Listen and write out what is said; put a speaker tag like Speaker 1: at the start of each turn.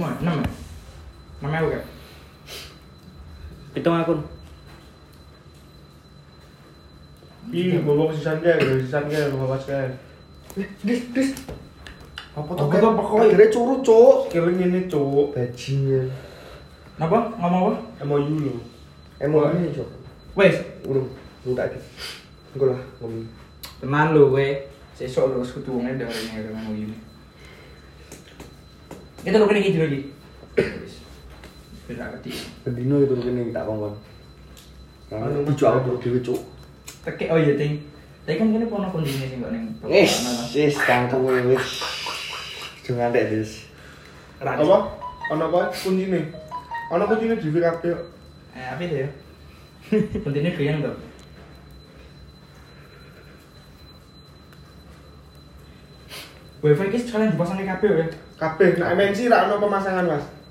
Speaker 1: enam ya enam ewu ya
Speaker 2: Pitung akun.
Speaker 3: Ih, gue bawa sisan dia, gue sisan dia, gue bawa sisan.
Speaker 1: dis dis
Speaker 3: Apa
Speaker 1: tuh, Kek?
Speaker 3: Akhirnya curu cok. Kalian ini cok.
Speaker 4: Bajingan.
Speaker 1: apa ngomong apa
Speaker 3: Emang dulu.
Speaker 4: Emang ini cok.
Speaker 1: wes
Speaker 4: Urung. Enggak gitu. Enggak lah ngomong.
Speaker 1: tenan lu we sesok lu sekutu wong enda ini ada ngomong gini kita lu kena gitu lagi Wes. tidak ngerti
Speaker 4: Bendino itu kene tak kongkon.
Speaker 3: Anu,
Speaker 4: Anu dijual aku dhewe cuk.
Speaker 1: teke oh iya ting tapi kan kini pono kondisinya sih kok neng
Speaker 4: Wis, wis kangku wis. Jangan ngantek wis.
Speaker 3: Apa?
Speaker 1: apa
Speaker 3: Ono apa? Kunci nih. Ono kunci nih di VKP.
Speaker 1: eh apa itu ya pentingnya kalian enggak Wifi ini sekalian dipasang di KPU ya
Speaker 3: KB, nah MNC rak ono pemasangan mas.